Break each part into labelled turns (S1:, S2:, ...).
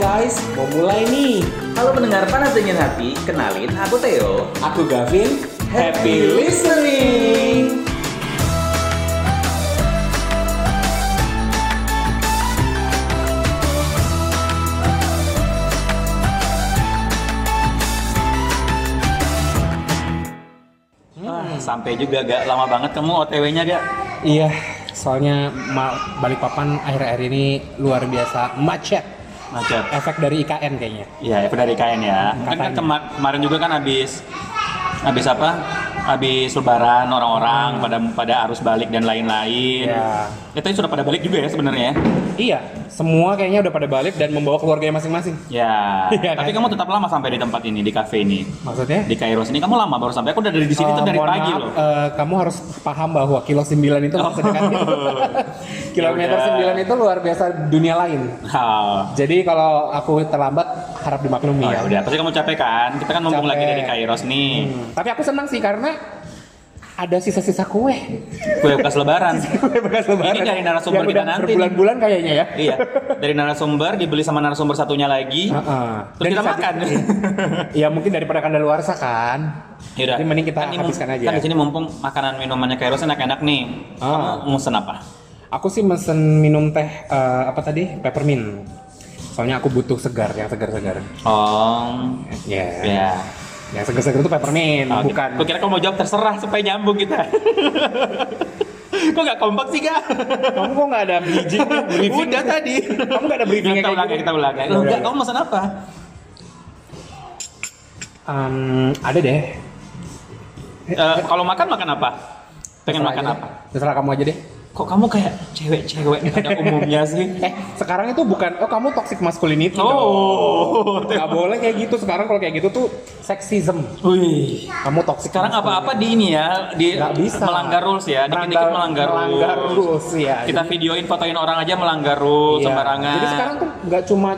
S1: guys, mau mulai nih.
S2: Halo pendengar panas dingin hati, kenalin aku Theo.
S1: Aku Gavin, happy listening.
S2: Ah, sampai juga gak lama banget kamu OTW-nya gak?
S1: Iya, soalnya balik papan akhir-akhir ini luar biasa macet.
S2: Macet.
S1: Efek dari IKN kayaknya.
S2: Iya, itu dari kain ya. Kan, kan
S1: Katanya.
S2: kema- kemarin juga kan habis habis apa? Habis lebaran orang-orang pada pada arus balik dan lain-lain.
S1: Hmm. Iya.
S2: Ya, tadi sudah pada balik juga ya sebenarnya.
S1: Iya, semua kayaknya udah pada balik dan membawa keluarganya masing-masing.
S2: Ya.
S1: Iya,
S2: Tapi
S1: kan?
S2: kamu tetap lama sampai di tempat ini, di kafe ini.
S1: Maksudnya?
S2: Di Kairos ini kamu lama baru sampai. Aku udah dari di sini
S1: Eh,
S2: tuh dari
S1: mohon
S2: pagi
S1: maaf,
S2: loh.
S1: eh, kamu harus paham bahwa kilo 9 itu
S2: Oh. Ya
S1: maksudnya kan Kilometer
S2: Yaudah.
S1: 9 itu luar biasa dunia lain.
S2: Oh.
S1: Jadi kalau aku terlambat harap dimaklumi
S2: Oh,
S1: ya.
S2: ya udah, pasti kamu capek kan? Kita kan mumpung lagi
S1: Capek.
S2: dari Kairos nih.
S1: Hmm, Tapi aku senang sih karena ada sisa-sisa kue.
S2: Kue bekas lebaran.
S1: kue bekas lebaran.
S2: Ini dari
S1: Yang
S2: narasumber kita
S1: udah
S2: nanti nih.
S1: Berbulan-bulan kayaknya ya.
S2: iya. Dari narasumber dibeli sama narasumber satunya lagi.
S1: Heeh.
S2: Terus kita makan.
S1: ya mungkin daripada kadaluarsa kan.
S2: Ya udah.
S1: Jadi mending kita
S2: Kan ini-
S1: habiskan aja. ya.
S2: Kan di sini mumpung makanan minumannya Kairos enak-enak nih.
S1: Ah.
S2: Kamu mesen apa?
S1: Aku sih mesen minum teh eh, apa tadi? Peppermint. Soalnya aku butuh segar, yang segar-segar.
S2: Oh.
S1: Ya.
S2: Ya.
S1: Yang segar-segar itu peppermint,
S2: Oh,
S1: bukan.
S2: Gue kira kamu mau jawab terserah supaya nyambung kita. Kok gak kompak sih kak?
S1: Kamu kok nggak ada briefing? briefing?
S2: Udah tadi.
S1: Kamu nggak ada briefing
S2: Kita ulang ya, kita ulang ya. Enggak, kamu mesen apa?
S1: ada deh.
S2: Eh, kalau makan makan apa? Pengen
S1: Terserah
S2: makan
S1: aja
S2: apa?
S1: deh. Terserah kamu aja deh.
S2: Kok kamu kayak cewek-cewek pada umumnya sih?
S1: Eh, sekarang itu bukan oh kamu toxic masculinity
S2: Oh.
S1: Gak boleh kayak gitu. Sekarang kalau kayak gitu tuh sexism.
S2: Wih.
S1: Kamu toxic.
S2: Sekarang apa-apa di ini ya, di
S1: Nggak bisa.
S2: melanggar rules ya, dikit-dikit
S1: Melanggar-
S2: melanggar,
S1: melanggar rules, ya.
S2: Kita videoin, fotoin orang aja melanggar rules
S1: Iya.
S2: sembarangan.
S1: Jadi sekarang tuh nggak cuma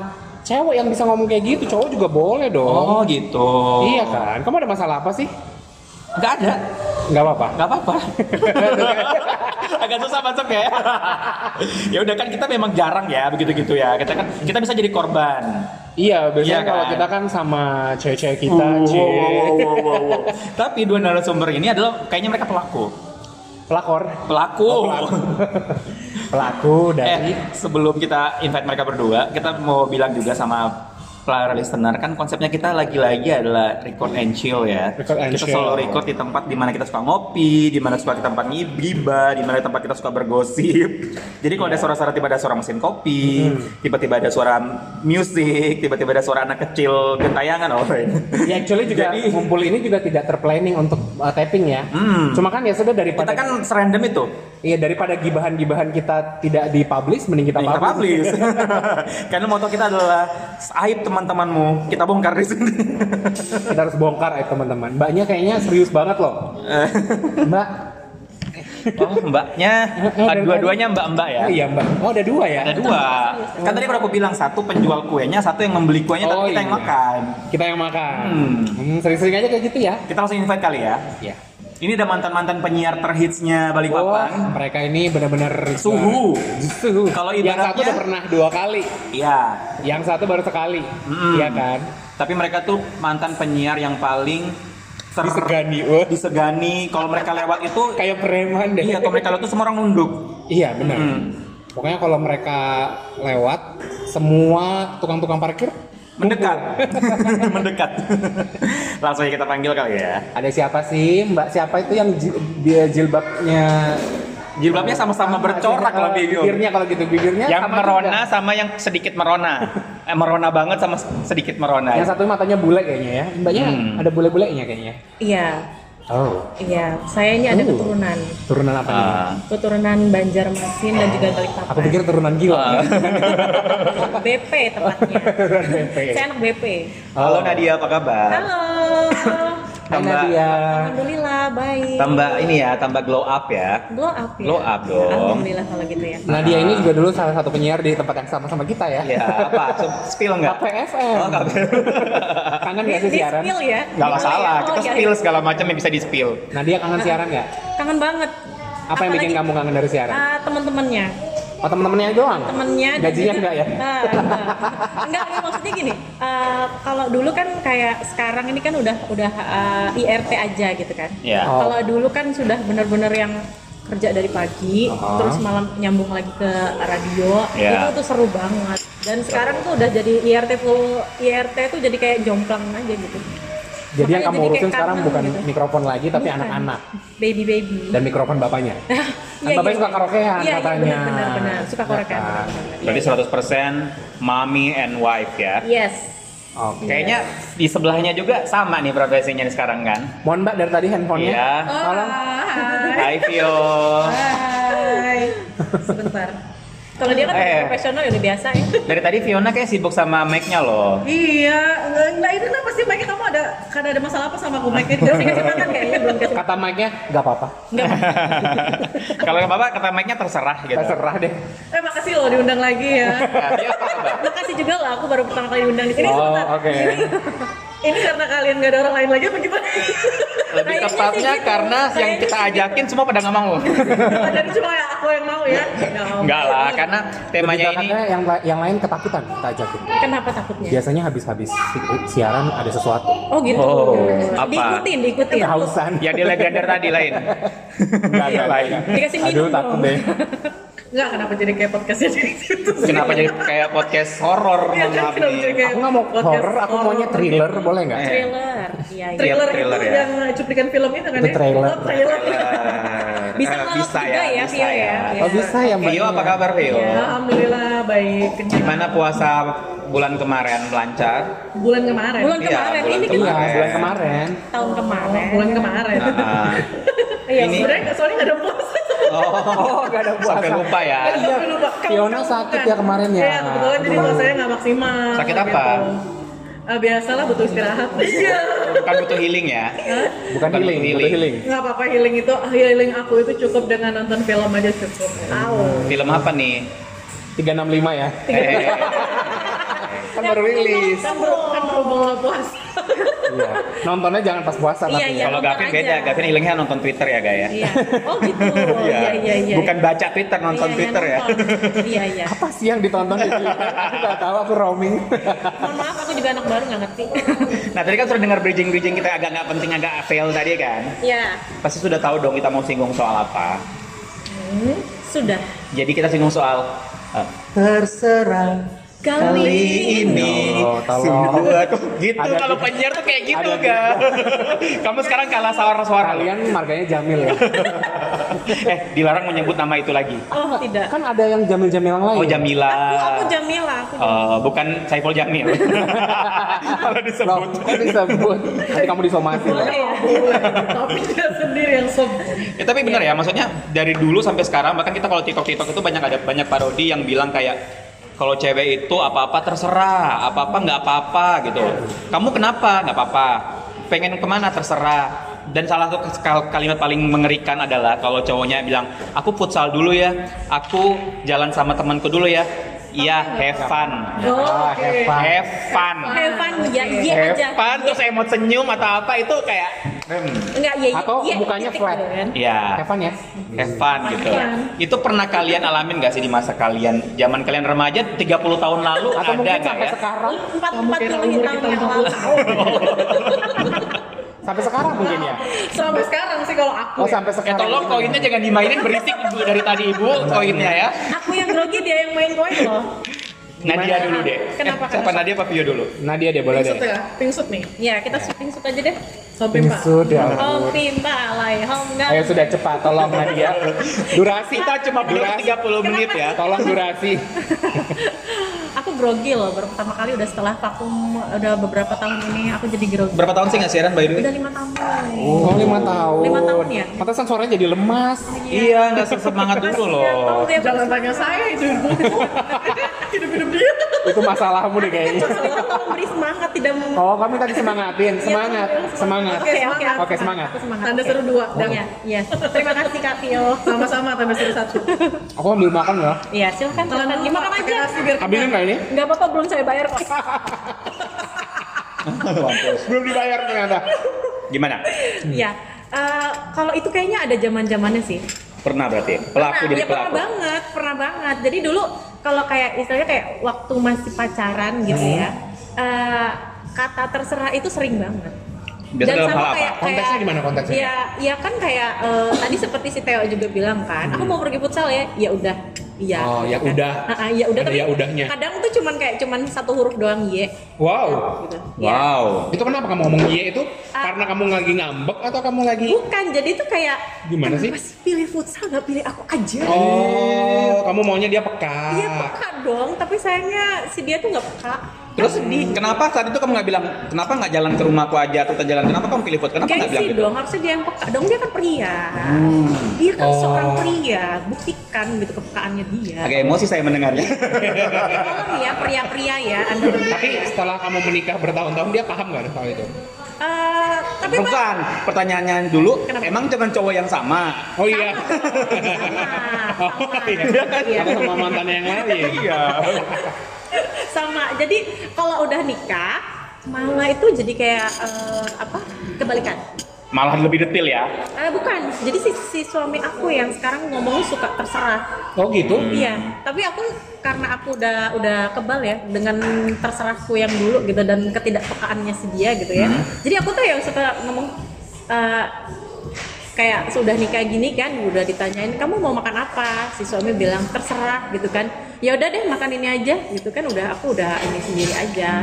S1: cewek yang bisa ngomong kayak gitu, cowok juga boleh dong.
S2: Oh gitu.
S1: Iya kan? Kamu ada masalah apa sih?
S2: Gak ada,
S1: Nggak apa-apa.
S2: gak apa-apa. Agak susah masuk ya. ya udah kan kita memang jarang ya begitu-gitu ya. Kita kan kita bisa jadi korban.
S1: Iya, biasanya
S2: Iya kan? Uh,
S1: kalau kita kan sama cewek-cewek kita,
S2: Wow,
S1: cie.
S2: wow, wow, wow, wow. Tapi dua narasumber ini adalah kayaknya mereka pelaku.
S1: pelakor,
S2: Pelaku.
S1: Oh, pelaku dari
S2: Eh, sebelum kita invite mereka berdua, kita mau bilang juga sama para listener kan konsepnya kita lagi-lagi adalah record and chill ya.
S1: Record and
S2: kita
S1: chill.
S2: selalu record di tempat di mana kita suka ngopi, di mana suka kita tempat ngibah, di mana tempat kita suka bergosip. Jadi
S1: Iya.
S2: kalau ada suara-suara tiba ada suara mesin
S1: Hmm.
S2: kopi, tiba-tiba ada suara musik, tiba-tiba ada suara anak kecil gentayangan oh.
S1: Ya actually juga
S2: Jadi-
S1: ngumpul ini juga tidak terplanning untuk uh, tapping ya.
S2: Hmm.
S1: Cuma kan ya sudah
S2: Kita
S1: daripada
S2: kan serandom itu.
S1: iya daripada gibahan-gibahan kita tidak dipublish mending kita
S2: Kita
S1: publish.
S2: publish. Karena moto kita adalah aib teman-temanmu, kita bongkar di sini.
S1: kita harus bongkar eh teman-teman. Mbaknya kayaknya serius banget loh. Mbak.
S2: Oh, mbaknya.
S1: Eh,
S2: Ah,
S1: dari
S2: Dua-duanya mbak-mbak ya?
S1: Oh iya, Mbak. Oh ada dua ya.
S2: Ada dua. Kan tadi udah aku bilang, satu penjual kuenya, satu yang membeli kuenya,
S1: Oh,
S2: tapi kita yang
S1: iya.
S2: makan.
S1: Kita yang makan.
S2: Hmm.
S1: Hmm, sering-sering aja kayak gitu ya.
S2: Kita langsung invite kali ya.
S1: Iya.
S2: Ini ada mantan-mantan penyiar terhitsnya Balikpapan.
S1: Wah, mereka ini benar-benar
S2: Suhu.
S1: Suhu.
S2: Kalau
S1: yang satu
S2: ibaratnya-
S1: udah pernah dua kali,
S2: Iya.
S1: yang satu baru sekali.
S2: Mm.
S1: Iya kan?
S2: Tapi mereka tuh mantan penyiar yang paling ter-
S1: Disegani, wah.
S2: disegani. Kalau mereka lewat itu,
S1: Kayak preman deh.
S2: iya. Kalau mereka lewat itu semua orang nunduk.
S1: Iya benar.
S2: Hmm.
S1: Pokoknya kalau mereka lewat, semua tukang-tukang parkir
S2: Mendekat. Mendekat. langsung aja kita panggil kali ya.
S1: Ada siapa sih, Mbak? Siapa itu yang ji- dia jilbabnya
S2: Jilbabnya sama-sama bercorak
S1: Eh,
S2: kalau bingung.
S1: Bibirnya kalau gitu bibirnya
S2: yang
S1: sama
S2: merona
S1: juga.
S2: sama yang sedikit merona eh, merona banget sama sedikit merona
S1: Yang satu matanya bule kayaknya ya. Mbaknya
S2: Hmm.
S1: ada bule-bulenya kayaknya.
S3: Iya,
S1: Oh.
S3: iya. Saya ini ada
S1: Oh.
S3: keturunan,
S1: Turunan apa nih?
S2: Ah.
S3: keturunan Banjarmasin dan juga Balikpapan.
S1: Aku pikir turunan
S2: Ah.
S1: gila.
S3: BP tepatnya.
S1: Turunan BP.
S3: Saya anak BP.
S2: halo Nadia apa kabar
S3: Halo.
S1: Hai
S2: tambah
S1: Nadia.
S3: Alhamdulillah baik.
S2: tambah ini ya tambah glow up ya
S3: Glow up ya.
S2: Glow up dong.
S3: Alhamdulillah kalau gitu ya.
S1: Nadia ini juga dulu salah satu penyiar di tempat yang sama sama kita ya.
S2: ya apa So- spill nggak
S1: KPFM.
S2: oh, nggak.
S1: Kangen
S3: Di,
S1: gak Kan sih
S3: di
S1: siaran?
S3: spill ya.
S2: nggak masalah
S3: Oh,
S2: kita
S3: iya,
S2: spill
S3: iya.
S2: segala macam yang bisa di spill
S1: Nadia kangen siaran nggak?
S3: Kangen banget.
S1: Apa yang bikin
S3: Apalagi,
S1: kamu kangen dari siaran?
S3: ah, teman-temannya.
S1: Oh teman-temannya doang.
S3: temennya
S1: Gajinya
S3: jadi-
S1: enggak ya?
S3: Nah, enggak. enggak enggak, maksudnya gini eh, kalau dulu kan kayak sekarang ini kan udah udah eh, IRT aja gitu kan
S2: Iya.
S1: Oh.
S3: kalau dulu kan sudah benar-benar yang kerja dari pagi
S1: Aha.
S3: terus malam nyambung lagi ke radio
S2: Iya.
S3: itu tuh seru banget dan sekarang tuh udah jadi IRT full IRT tuh jadi kayak jomplang aja gitu
S1: Jadi yang
S3: Makanya
S1: kamu
S3: jadi
S1: urusin
S3: kayak
S1: sekarang
S3: kangen
S1: bukan
S3: gitu.
S1: mikrofon lagi tapi
S3: Bukan.
S1: anak-anak
S3: baby baby
S1: dan mikrofon bapaknya. Kan
S3: Iya,
S1: bapaknya
S3: iya.
S1: suka karaokean
S3: Iya, iya,
S1: katanya.
S3: benar, benar, benar. suka
S1: Iya
S3: karaokean
S1: kan?
S3: benar, benar, benar.
S2: Berarti 100% mommy and wife ya.
S3: yes
S1: Oke.
S2: Kayaknya di sebelahnya juga sama nih profesinya nih sekarang kan.
S1: Mohon Mbak dari tadi handphonenya.
S2: Iya.
S1: Tolong.
S2: Hai Vio.
S3: Hai. Sebentar. Kalau dia kan
S2: Eh.
S3: profesional ya udah biasa ya.
S2: Dari tadi Fiona kayak sibuk sama mic-nya loh.
S3: Iya, enggak, enggak itu kenapa sih Mike kamu ada karena ada masalah apa sama aku Mike? Terus dikasih makan kayaknya belum kasih.
S1: Kata mic-nya nggak apa-apa.
S3: Enggak.
S2: Kalau nggak apa-apa kata mic-nya terserah gitu.
S1: Terserah deh.
S3: Eh makasih loh diundang lagi ya.
S2: Nah, Vio apa kabar?
S3: makasih juga lah aku baru pertama kali diundang di sini.
S1: Oh
S3: sebentar.
S1: oke.
S3: Ini karena kalian gak ada orang lain lagi apa gimana?
S2: Lebih
S3: Kayaknya
S2: tepatnya
S3: sih gitu.
S2: karena yang
S3: Kayaknya
S2: kita
S3: sih
S2: ajakin semua pada nggak mau.
S3: gitu. Jadi cuma aku yang mau ya.
S2: Enggak lah, karena temanya
S1: Lebih
S2: ini
S1: tepatnya yang la- yang lain ketakutan kita ajakin.
S3: Kenapa takutnya?
S1: Biasanya habis-habis si- siaran ada sesuatu.
S3: Oh gitu.
S2: Oh, apa?
S3: Diikutin, diikutin.
S1: Kan Kehausan.
S2: yang ya di legender tadi lain.
S1: Enggak, enggak, enggak, enggak.
S3: Dikasih minum
S1: Aduh takut
S3: dong.
S1: deh.
S3: Enggak, kenapa jadi kayak podcastnya jadi gitu sih?
S2: Kenapa jadi kayak podcast horor
S3: Iya, kan,
S2: mengabdi?
S3: kenapa jadi kayak
S1: Aku nggak mau
S3: podcast
S1: horror, aku maunya thriller, boleh nggak?
S2: Eh.
S3: Thriller, iya iya.
S2: Thriller
S4: Trailer,
S2: Trailer
S4: itu
S2: ya.
S4: yang cuplikan film itu kan
S1: Itu
S4: ya?
S1: trailer.
S4: Oh, trailer.
S3: Bisa ngelak juga ya,
S2: eh, bisa
S3: Vio ya. Iya.
S1: Oh bisa ya mbak.
S2: Vio Iya, apa kabar Vio?
S4: Ya, Alhamdulillah baik.
S2: Gimana puasa bulan kemarin lancar?
S4: Bulan kemarin.
S3: Bulan
S2: Iya,
S3: kemarin,
S2: bulan
S3: ini kan
S1: Iya
S2: Kemarin.
S1: bulan kemarin.
S3: tahun kemarin.
S4: Oh, Bulan kemarin.
S2: Nah,
S3: Iya,
S2: ini-
S4: Sebenarnya nggak- soalnya nggak ada puasa.
S2: oh,
S1: Oh, gak ada puasa.
S2: sampai lupa ya.
S1: Iya,
S4: Tapi lupa. Kamu-
S1: Fiona
S4: kamu
S1: sakit
S4: bukan.
S1: ya kemarin ya.
S4: Iya, kebetulan jadi
S1: Aduh.
S4: puasanya nggak maksimal. gitu.
S2: Sakit apa?
S4: Eh, biasalah butuh istirahat. Iya.
S2: Bukan butuh healing ya.
S1: Bukan healing,
S2: healing.
S1: butuh healing.
S4: Nggak apa-apa healing itu healing aku itu cukup dengan nonton film aja cukup. Tahu.
S2: Film apa nih?
S1: 365 ya.
S3: Iya.
S2: Eh,
S1: Kan baru rilis.
S4: Kan ber- kan berhubung lo puasa.
S1: Iya. Nontonnya jangan pas puasa
S3: Iya,
S1: tapi.
S3: iya.
S2: kalau
S3: nonton
S2: Gavin
S3: aja.
S2: beda, Gavin healingnya nonton Twitter ya gak ya?
S3: Iya. Oh gitu. Iya, iya, iya.
S2: Bukan baca Twitter, nonton
S3: Iya, iya,
S2: Twitter ya.
S3: nonton. Iya, iya.
S1: Apa sih yang ditonton di Twitter? Aku nggak tahu aku roaming.
S3: Mohon maaf, aku juga anak baru nggak ngerti.
S2: Nah tadi kan sudah dengar bridging-bridging kita agak nggak penting, agak fail tadi kan.
S3: Iya,
S2: Pasti sudah tahu dong kita mau singgung soal apa.
S3: Hmm, sudah.
S2: Jadi kita singgung soal eh, terserah
S3: Kali
S1: ini. Ya Allah, tolong.
S2: sudah aku gitu
S1: Ada-
S2: kalau penyiar tuh kayak gitu
S1: ada-
S2: ga kamu sekarang kalah suara-suara lu.
S1: Kalian marganya Jamil ya.
S2: eh dilarang menyebut nama itu lagi
S3: Oh tidak.
S1: Kan ada yang Jamil-Jamil yang lain.
S2: oh Jamila
S3: iya. Aku, aku Jamila. Aku
S2: Eh, bukan Saiful Jamil kalau
S1: Loh,
S2: disebut
S1: kok disebut? Nanti kamu disomasi. loh.
S3: Boleh ya?
S4: Tapi dia sendiri yang sob.
S2: Ya, tapi benar ya, maksudnya dari dulu sampai sekarang bahkan kita kalau TikTok TikTok itu banyak ada banyak parodi yang bilang kayak kalau cewek itu apa-apa terserah, apa-apa nggak apa-apa gitu. Kamu kenapa nggak apa-apa? Pengen kemana terserah. Dan salah satu kal- kalimat paling mengerikan adalah kalau cowoknya bilang, aku futsal dulu ya, aku jalan sama temanku dulu ya. Iya, have fun.
S1: Ah, have fun.
S2: Have fun.
S3: Hevan, iya, iya
S2: Have
S3: aja.
S2: fun, terus emot senyum atau apa itu kayak, hmm,
S3: Enggak, iya, iya.
S1: Atau
S3: iya,
S1: bukannya
S3: titik
S1: flat.
S3: gitu kan.
S2: ya.
S1: Have fun ya.
S2: Have fun gitu.
S3: Fun.
S2: Itu pernah kalian alamin gak sih di masa kalian zaman kalian remaja 30 tahun lalu
S1: Atau
S2: ada
S1: mungkin
S2: gak
S1: sampai
S2: ya?
S1: sekarang,
S3: Empat
S4: Kamu
S3: empat
S4: kira
S3: puluh
S4: umur
S3: tahun
S4: kita
S3: yang
S4: empat puluh
S3: lalu.
S1: sampai sekarang mungkin ya.
S4: Sampai sekarang sih kalau aku.
S1: Oh
S4: ya.
S1: sampai
S2: Eh
S1: sekarang.
S2: tolong koinnya jangan dimainin berisik ibu dari tadi ibu koinnya ya.
S3: Aku yang grogi dia yang main koin loh.
S2: Nadia dulu deh. Eh,
S3: Kenapa,
S2: siapa
S3: kenapa?
S2: Nadia apa Vio dulu?
S1: Nadia deh boleh deh.
S4: Pingsut ya, pingsut nih.
S3: Ya kita syuting suka aja deh.
S4: Sobim pak.
S1: Pingsut ya. ampun.
S3: Hong Pim Balai Hong Gang.
S1: Ayo sudah cepat tolong Nadia. Durasi
S2: Kita cuma belum
S1: durasi.
S2: 30 menit ya.
S1: Tolong durasi.
S3: Aku grogi loh baru pertama kali udah setelah vakum udah beberapa tahun ini aku jadi grogi.
S2: Berapa tahun sih nggak siaran by the way?
S3: Udah lima tahun.
S1: Oh, lima tahun.
S3: Lima tahun ya?
S1: Pantesan suaranya jadi lemas.
S2: Iya, nggak semangat dulu
S3: Kasihan, tau
S2: loh.
S3: gak ya,
S4: Jangan tanya saya itu hidup-hidup dia.
S1: Itu masalahmu deh kayaknya.
S3: Maksudnya kita memberi semangat tidak mem
S1: Oh, kamu tadi semangatin. Semangat, semangat.
S3: Iya, Oke oke
S4: semangat.
S1: Oke, semangat.
S3: Aku semangat.
S4: Tanda
S3: oke.
S4: seru dua. Dan
S3: Iya iya. Terima kasih Kak Tio.
S4: sama-sama tanda seru satu.
S1: Aku ambil makan ya.
S3: Iya silakan
S4: Telan
S3: silakan
S4: dulu,
S3: dimakan
S4: Pak, pakai
S3: aja.
S4: nasi biar
S1: Habisin nggak ini?
S3: Enggak apa-apa belum saya bayar kok.
S1: Belum dibayar ternyata.
S2: Gimana?
S3: Iya. Eh, kalau itu kayaknya ada zaman-zamannya sih.
S2: Pernah berarti. Pelaku
S3: pernah,
S2: jadi
S3: ya,
S2: pelaku.
S3: pernah banget, pernah banget. Jadi dulu kalau kayak istilahnya kayak waktu masih pacaran gitu ya,
S1: Hmm.
S3: eh, kata terserah itu sering banget.
S2: Biasa dalam hal apa?
S1: Konteksnya gimana konteksnya?
S3: Ya, ya kan kayak eh, tadi seperti si Theo juga bilang kan, aku mau pergi futsal ya, ya udah, iya.
S1: Hmm. Oh, ya
S3: gitu kan.
S1: udah.
S3: Ah, ah, ya udah.
S1: Ada
S3: Tapi
S1: ya udahnya.
S3: kadang tuh cuman kayak cuman satu huruf doang ye.
S1: Oh, Wow.
S3: Gitu. Ya.
S2: Wow.
S1: Itu kenapa kamu ngomong iya itu?
S3: Ah.
S1: Karena kamu lagi ngambek atau kamu lagi
S3: Bukan, jadi tuh kayak
S1: Gimana sih?
S3: kenapa pilih futsal nggak pilih aku aja?
S1: Oh, kamu maunya dia peka.
S3: Uh. Iya peka dong, tapi sayangnya si dia tuh nggak peka.
S2: Terus kenapa saat itu kamu nggak bilang kenapa nggak jalan ke rumahku aja atau kita jalan kenapa kamu pilih foto kenapa nggak bilang
S3: Gengsi
S2: gitu?
S3: dong, harusnya dia yang peka dong. Dia kan pria, dia kan
S1: Oh.
S3: seorang pria. Buktikan gitu kepekaannya dia.
S2: Agak emosi saya mendengarnya.
S3: Tolong ya pria-pria ya, anda berdua
S1: Tapi
S3: ya.
S1: setelah kamu menikah bertahun-tahun dia paham nggak soal itu?
S3: Eh, tapi Pak,
S2: Bukan. Pertanyaannya dulu,
S3: Kenapa?
S2: emang dengan cowok yang sama?
S1: Oh iya.
S3: sama,
S1: Oh
S3: sama,
S1: iya.
S3: Iya.
S1: Sama sama mantannya yang lain.
S2: Iya.
S3: sama. Jadi kalau udah nikah, malah itu jadi kayak eh, apa? Kebalikan.
S2: Malah lebih detail ya.
S3: Eh, bukan. Jadi si, si suami aku yang sekarang ngomong suka terserah.
S1: Oh gitu.
S3: Iya, tapi aku karena aku udah udah kebal ya dengan terserahku yang dulu gitu dan ketidakpekaannya si dia gitu ya. Jadi aku tuh yang suka ngomong eh, kayak sudah nikah gini kan, udah ditanyain kamu mau makan apa, si suami bilang terserah gitu kan. Ya udah deh makan ini aja gitu kan, udah aku udah ini sendiri aja.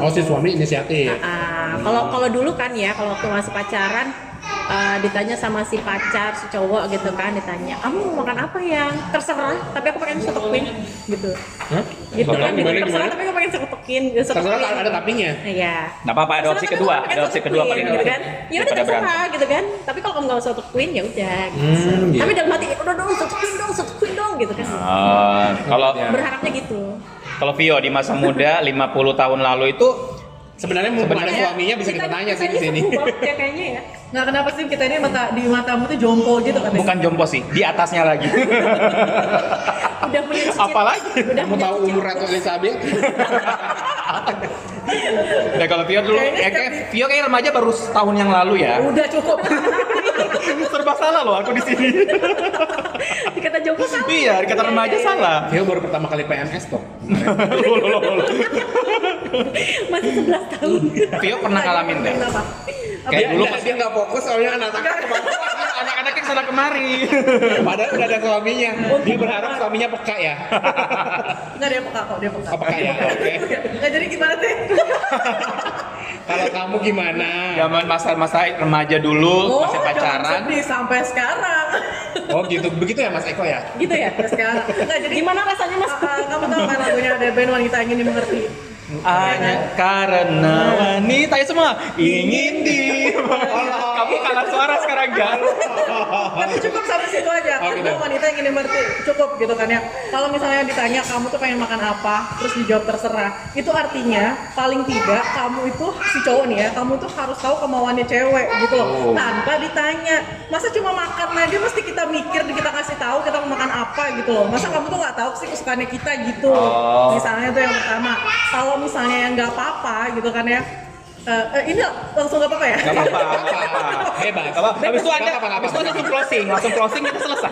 S1: Oh si suami inisiatif.
S3: Ah, kalau kalau dulu kan ya kalau waktu masih pacaran eh, ditanya sama si pacar si cowok gitu kan ditanya kamu mau makan apa yang terserah tapi aku pengen soto queen gitu
S1: Hah?
S3: gitu
S1: Gimana,
S3: kan gitu.
S1: gimana,
S3: terserah
S1: gimana?
S3: tapi aku pengen soto queen gitu, soto
S1: Terserah
S3: queen.
S1: tak ada tapinya.
S3: Iya.
S2: Nggak apa-apa, ada
S3: Terserah
S2: opsi
S3: tapi
S2: kedua.
S3: aku pengen
S2: Ada opsi
S3: soto
S2: kedua
S3: queen,
S2: paling
S3: gitu
S2: nggak.
S3: kan. Ya udah
S2: Daripada
S3: terserah
S2: berantem.
S3: gitu kan. Tapi kalau kamu nggak mau soto queen ya udah. Gitu.
S1: Hmm, iya.
S3: Tapi dalam hati udah dong soto queen dong, soto queen dong gitu kan.
S2: Ah, kalau
S3: Berharapnya gitu.
S2: kalau Vio di masa muda 50 tahun lalu itu
S1: Sebenarnya mumpung ada suaminya bisa kita tanya sih di sini.
S3: seru banget ya kayaknya ya.
S4: Nggak kenapa sih kita ini mata di matamu tuh jompo gitu katanya.
S2: bukan jompo sih, di atasnya lagi.
S3: Udah punya cicit.
S2: Apalagi?
S3: Udah
S1: Kamu
S3: punya
S1: tahu
S3: cicit.
S1: umur Ratu Elizabeth?
S2: Nah kalau Vio dulu, eh, kayak, Vio kayak remaja baru setahun yang lalu ya.
S3: Iya.
S4: Udah cukup.
S2: Serba salah loh aku di sini.
S3: Dikata Joko salah.
S2: iya, kata remaja
S3: Iya, iya,
S2: salah.
S1: Dia baru pertama kali PMS kok.
S3: Oh,
S2: Loh, loh, loh, loh.
S3: iya. Masih 11 tahun.
S2: Vio pernah ngalamin deh.
S4: Kenapa?
S2: Kayak dulu pas
S1: dia nggak fokus soalnya anak
S2: anak-anaknya kesana kemari.
S1: Padahal udah ada suaminya. Dia berharap suaminya peka ya.
S4: Nggak dia peka kok, dia peka.
S1: Oh, peka ya. Oke.
S4: Nggak jadi gimana sih?
S1: Kalau kamu gimana?
S2: Zaman masa-masa remaja dulu, masih
S4: Oh, jangan
S2: pacaran.
S4: sedih sampai sekarang.
S1: Oh gitu. Begitu ya Mas Eko ya?
S3: Gitu ya.
S4: Sampai sekarang. Nggak jadi
S3: Gimana rasanya Mas?
S4: Ah, ah, kamu tahu kan lagunya ada band wanita ingin dimengerti.
S2: Hanya karena wanita ya semua ingin di Kamu kalah suara sekarang Gal
S4: Tapi
S2: Oh.
S4: cukup sampai situ aja.
S1: Oh,
S4: Kan
S1: gitu.
S4: gua wanita ingin dimengerti. Cukup gitu kan ya. Kalau misalnya ditanya kamu tuh pengen makan apa, terus dijawab terserah. Itu artinya paling tidak kamu itu si cowok nih ya, kamu tuh harus tahu kemauannya cewek gitu
S2: Oh.
S4: loh. Tanpa ditanya. Masa cuma makan aja mesti kita mikir, kita kasih tahu kita mau makan apa gitu loh. Masa kamu tuh nggak tahu sih kesukaannya kita gitu.
S2: Oh.
S4: Misalnya itu yang pertama. Kalau misalnya yang nggak apa-apa gitu kan ya. Eh, eh, ini langsung nggak apa-apa ya?
S2: Gak apa-apa, gak apa-apa
S1: Bebas.
S2: Gak apa Habis itu ada,
S1: Gak apa-apa,
S2: habis
S1: gak apa-apa.
S2: itu langsung closing Langsung closing kita selesai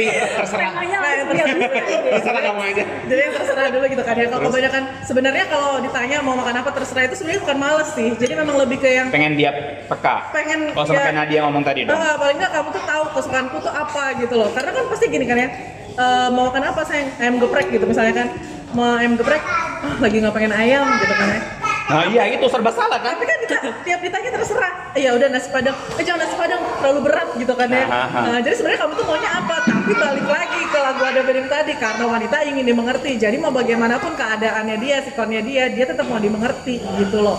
S1: Si terserah.
S3: Temanya langsung ya.
S1: Terserah kamu aja.
S4: jadi yang terserah dulu gitu kan ya kalau kebanyakan sebenarnya kalau ditanya mau makan apa terserah itu sebenarnya bukan males sih jadi memang lebih ke yang
S2: Pengen dia peka
S4: pengen
S2: Kalau sama kayak Nadia ngomong tadi dong
S4: Ah, paling nggak kamu tuh tahu kesukaanku tuh apa gitu loh karena kan pasti gini kan ya eh, mau makan apa sayang ayam geprek gitu misalnya kan mau ayam geprek ah, lagi nggak pengen ayam gitu kan ya
S2: Nah iya itu serba salah kan
S4: tapi kan kita, tiap ditanya terserah ya udah nasi padang eh jangan nasi padang terlalu berat gitu kan ya
S2: Ah, ah, ah.
S4: Nah, jadi sebenarnya kamu tuh maunya apa tapi balik lagi ke lagu ada Berim tadi karena wanita ingin dimengerti jadi mau bagaimanapun keadaannya dia sikonnya dia dia tetap mau dimengerti gitu loh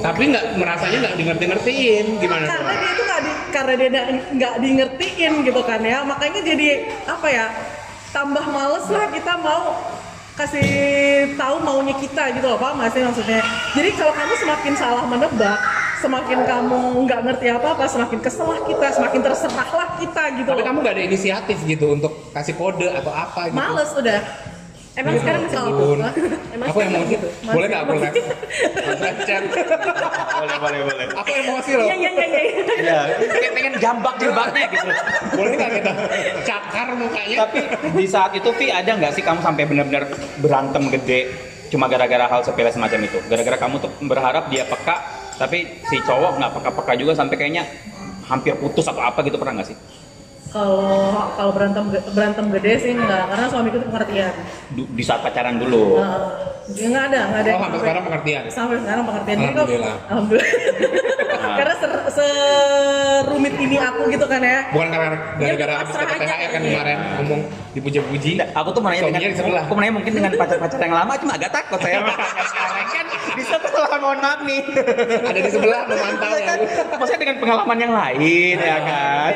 S1: Tapi nggak merasanya nggak dimengerti-ngertiin gimana? tuh?
S4: karena dia itu nggak di- karena dia nggak- nggak diingetin gitu kan ya makanya jadi apa ya tambah males lah kita mau kasih tahu maunya kita gitu loh paham nggak sih maksudnya jadi kalau kamu semakin salah menebak semakin kamu nggak ngerti apa apa semakin kesel lah kita semakin terserahlah kita gitu
S1: Tapi
S4: loh
S1: kamu nggak ada inisiatif gitu untuk kasih kode atau apa gitu?
S4: males udah
S3: Emang sekarang masih gitu?
S1: Ampun.
S3: Emang
S1: Aku yang
S3: sekarang
S1: mau
S3: gitu?
S1: Boleh nggak aku live? Aku live chat.
S2: boleh boleh boleh
S1: Aku emosi loh.
S3: Iya iya iya iya.
S2: ya pengen pengen jambak jambaknya gitu
S1: Boleh nggak kita cakar mukanya?
S2: tapi di saat itu Vi ada nggak sih kamu sampai benar-benar berantem gede cuma gara-gara hal sepele semacam itu gara-gara kamu tuh berharap dia peka tapi si cowok nggak peka-peka juga sampai kayaknya hampir putus atau apa gitu pernah nggak sih
S4: Kalau kalau berantem ge- berantem gede sih enggak, karena suamiku tuh pengertian.
S2: Du- di saat pacaran dulu
S4: Nah, dia nggak ada, nggak ada.
S1: Oh,
S4: yang
S1: sampai
S4: sampai-
S1: sekarang pengertian.
S4: Sampai sekarang pengertian Jadi kok-
S1: Alhamdulillah.
S4: Alhamdulillah.
S2: Nah.
S4: karena ser- serumit ini aku gitu kan ya.
S1: Bukan karena gara-gara
S3: Ya,
S1: habis
S3: pasrah
S1: dapat
S3: aja.
S1: THR kan kemarin ngomong dipuja-puji.
S2: Nggak, aku tuh menanya
S1: Suaminya
S2: dengan
S1: di sebelah.
S2: aku menanya mungkin dengan pacar-pacar yang lama cuma agak takut saya sekarang kan di sebelah mohon maaf nih
S1: Ada di sebelah memantau
S2: Iya.
S1: ya.
S2: maksudnya dengan pengalaman yang lain ya kan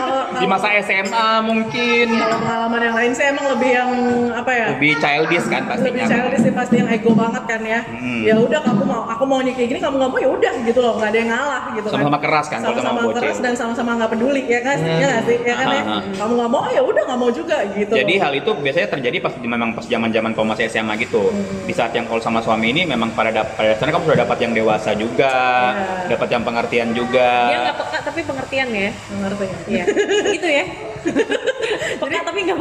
S4: Kalau
S2: di masa SMA mungkin
S4: kalau pengalaman yang lain saya emang lebih yang apa ya?
S2: lebih childish kan
S4: lebih
S2: pastinya
S4: childish sih pasti yang ego banget kan ya
S2: Hmm.
S4: ya udah kamu mau aku maunya kayak gini kamu nggak mau ya udah gitu loh nggak ada yang ngalah gitu kan
S2: Sama-sama keras kan, kalau
S4: sama-sama
S2: sama bocil. Hmm.
S4: keras dan sama-sama nggak peduli ya kan ya nggak sih ya kan ya?
S2: Aha.
S4: kamu nggak mau ya udah nggak mau juga gitu
S2: Jadi hal itu biasanya terjadi pas memang pas zaman-zaman kalau masih SMA gitu. Di saat yang kalau sama suami ini memang pada dap- pada dasarnya kamu sudah dapat yang dewasa juga,
S4: Iya.
S2: dapat yang pengertian juga.
S3: Dia nggak peka tapi pengertian ya.
S4: ngerti
S3: Iya. Gitu ya. Peka tapi nggak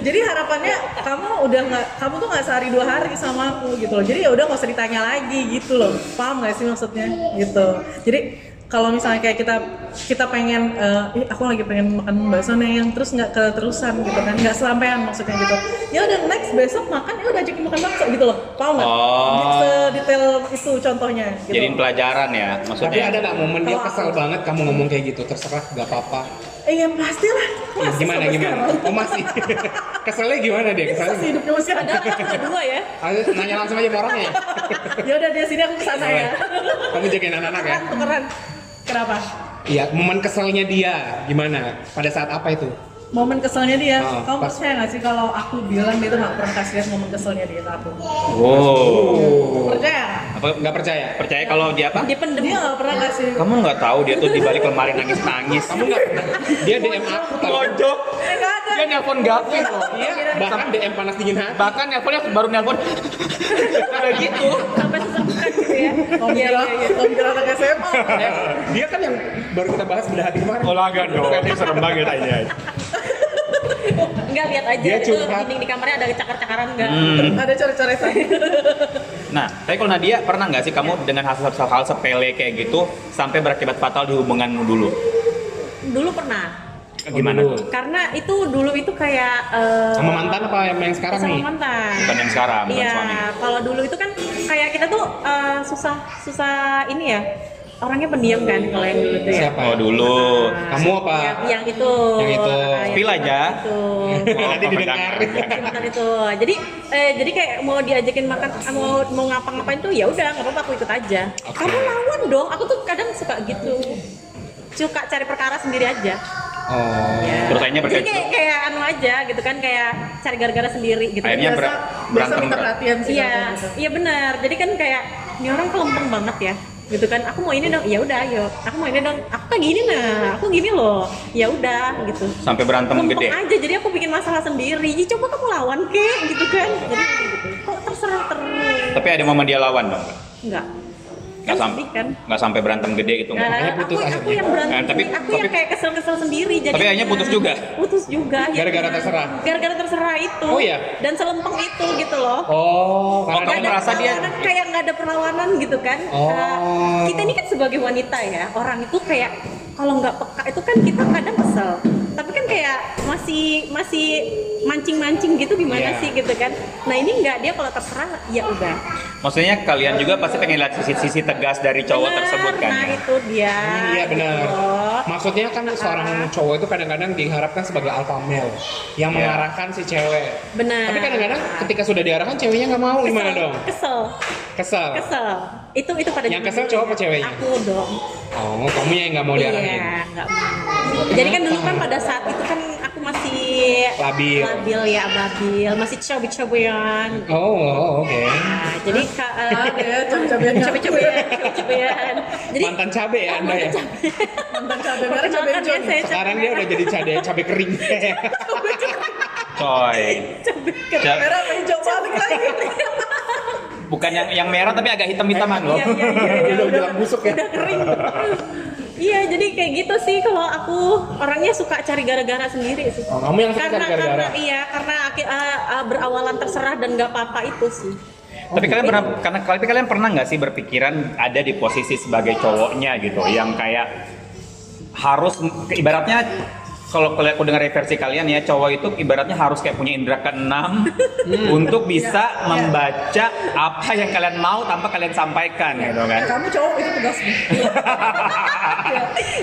S4: jadi harapannya kamu udah nggak kamu tuh nggak sehari dua hari sama aku gitu loh jadi ya udah nggak usah ditanya lagi gitu loh paham nggak sih maksudnya gitu jadi kalau misalnya kayak kita kita pengen eh, ih aku lagi pengen makan bakso nih yang terus nggak keterusan gitu kan nggak selampean maksudnya gitu ya udah next besok makan ya udah ajakin makan bakso gitu loh paham nggak
S2: Oh.
S4: detail itu contohnya gitu.
S2: Jadiin pelajaran ya,
S1: Tapi
S2: maksudnya.
S1: ada nggak momen dia
S4: Kalau
S1: kesel banget kamu ngomong kayak gitu terserah gak apa-apa.
S4: iya pastilah
S1: Ya,
S4: Masa
S1: gimana
S4: sampai
S1: gimana?
S4: sekarang?
S1: Oh masih. Keselnya gimana dia?
S3: Iya,
S4: Masa
S1: Keselnya.
S4: hidupnya masih ada
S3: Padahal anak kedua ya.
S1: Ayo, nanya langsung aja sama orangnya. ya?
S4: ya udah dari sini aku kesana ya
S1: Kamu jagain anak-anak ya.
S4: tukeran tukeran kenapa
S1: Iya, momen keselnya dia gimana? Pada saat apa itu?
S4: momen keselnya dia
S1: Ah,
S4: kamu
S1: pas.
S4: percaya nggak sih kalau aku bilang dia tuh nggak pernah kasih lihat momen keselnya dia ke aku
S2: Wow.
S1: Oh.
S4: percaya nggak?
S2: Apa
S1: Nggak percaya?
S2: percaya kalau dia apa?
S3: Dia pendem.
S4: dia nggak pernah kasih
S2: Kamu nggak tahu dia tuh di balik lemari nangis-nangis.
S1: Kamu nggak? Dia DM aku tau.
S2: Pojok.
S4: Eh, nggak ada
S2: Dia nelpon Gavin loh.
S1: Iya, bahkan DM panas dingin hati.
S2: Bahkan nelponnya baru nelpon. Udah gitu.
S3: Sampai sesepukan gitu ya.
S1: Oh.
S4: Om
S3: Iya
S4: kira,
S3: iya iya.
S4: om kira anak SMA.
S1: Dia kan yang baru kita bahas benda hati kemarin.
S2: Olahraga dong. Serem banget aja.
S3: Enggak lihat aja
S1: Dia
S3: itu
S1: curhat. Hmm.
S3: dinding di kamarnya ada cakar-cakaran enggak?
S4: Ada coret-coretan.
S2: Nah, tapi kalau Nadia pernah nggak sih kamu dengan hal, hal sepele kayak gitu sampai berakibat fatal di hubunganmu dulu?
S3: Dulu pernah.
S2: Gimana?
S1: Dulu.
S3: Karena itu dulu itu kayak eh,
S1: Sama mantan apa yang yang sekarang
S3: sama
S1: nih? ya,
S3: mantan.
S2: Bukan yang sekarang, bukan
S3: Iya,
S2: suami.
S3: kalau dulu itu kan kayak kita tuh eh, susah susah ini ya. Orangnya pendiam kan kalau yang dulu tuh ya.
S1: Siapa?
S2: Oh dulu.
S3: Nah,
S1: Kamu apa?
S3: Yang, yang itu.
S1: Yang itu.
S3: Ah, yang
S2: Spill aja.
S3: Itu.
S1: Nanti didengar.
S3: Yang makan itu. Jadi eh, jadi kayak mau diajakin makan mau mau ngapa-ngapain tuh ya udah nggak apa-apa aku ikut aja.
S1: Oke.
S3: Kamu lawan dong. Aku tuh kadang suka gitu. Suka cari perkara sendiri aja.
S1: Oh.
S2: Terus akhirnya
S3: Jadi
S2: berkayak
S3: kayak, kayak anu aja gitu kan kayak cari gara-gara sendiri gitu.
S2: Akhirnya
S4: Biasa,
S2: ber-
S4: biasa
S2: berantem
S4: minta
S2: ber-
S4: perhatian sih. kalau
S3: Iya,
S4: kayak gitu.
S3: iya benar. Jadi kan kayak ini orang kelempeng banget ya gitu kan aku mau ini dong ya udah ayo aku mau ini dong aku kan gini nah aku gini loh ya udah gitu
S2: sampai berantem gede.
S3: Lempeng aja jadi aku bikin masalah sendiri Ih, coba kamu lawan ke gitu kan jadi gitu. kok terserah terus
S2: Tapi ada momen dia lawan dong.
S3: enggak
S2: Nggak
S3: Kan
S2: sampai
S3: sedih kan
S2: nggak sampai berantem gede gitu.
S3: Nah,
S1: Makanya
S3: aku,
S1: putus
S3: aku
S1: akhirnya.
S3: yang berantem,
S2: Eh, tapi-
S3: aku yang
S2: tapi-
S3: kayak kesel-kesel sendiri jadi
S2: Tapi akhirnya putus juga?
S3: putus juga akhirnya.
S1: Gara-gara terserah?
S3: gara-gara terserah itu
S1: Oh, iya?
S3: dan selempeng itu gitu loh
S1: Oh, karena
S2: kamu
S3: Nggak ada
S2: merasa dia-
S3: perlawanan, kayak nggak ada perlawanan gitu kan
S1: Oh.
S3: Eh, kita ini kan sebagai wanita ya orang itu kayak kalau nggak peka itu kan kita kadang kesel tapi kan kayak masih masih mancing-mancing gitu gimana
S1: Iya.
S3: sih gitu kan nah ini nggak dia kalau terserah ya udah
S2: Maksudnya kalian juga pasti pengen lihat sisi, sisi tegas dari cowok
S3: Benar,
S2: tersebut kan?
S3: nah
S2: ya?
S3: itu dia
S1: Iya benar.
S3: gitu loh.
S1: Maksudnya kan seorang cowok itu kadang-kadang diharapkan sebagai alpha male yang
S2: Iya.
S1: mengarahkan si cewek.
S3: benar
S1: Tapi kadang-kadang ketika sudah diarahkan ceweknya nggak mau gimana
S3: Nah. Kesel,
S1: dong?
S3: kesel
S1: Kesel.
S3: kesel itu itu pada
S1: Yang
S3: diri
S1: kesel
S3: dia.
S1: cowok apa ceweknya?
S3: aku dong
S1: Oh, kamunya yang nggak mau diarahin.
S3: Iya, nggak mau. Jadi kan dulu kan pada saat itu kan aku masih
S1: Labil.
S3: labil ya, labil, masih cobi-cobian.
S1: Oh, oh, oke.
S3: Nah, jadi ka-
S4: Ada ya, cabai-cabeannya.
S3: cobi-cobian, cobi-cobian. Jadi
S1: Mantan cabe ya Anda ya.
S4: Mantan cabai merah, cabai
S3: Perkenalkan
S4: hijau.
S3: ya, saya
S1: Sekarang dia udah jadi cabe cabe kering.
S2: coy.
S4: Ke
S2: Siap.
S4: kamera hijau balik lagi.
S2: Bukan yang yang merah tapi agak hitam-hitaman loh.
S3: Iya, iya, iya, iya,
S1: Udah
S3: udah.
S1: bilang busuk ya.
S3: Udah kering. Iya, jadi kayak gitu sih kalau aku orangnya suka cari gara-gara sendiri sih.
S1: Oh, kamu yang suka
S3: karena,
S1: cari gara-gara.
S3: karena iya, karena aki- eh, eh, berawalan terserah dan nggak apa-apa itu sih.
S2: Tapi kalian pernah karena tapi kalian pernah nggak sih berpikiran ada di posisi sebagai cowoknya gitu yang kayak harus ibaratnya kalau kalau aku dengar versi kalian ya cowok itu ibaratnya harus kayak punya indera keenam untuk bisa membaca apa yang kalian mau tanpa kalian sampaikan gitu kan.
S4: Kamu cowok itu tugasmu.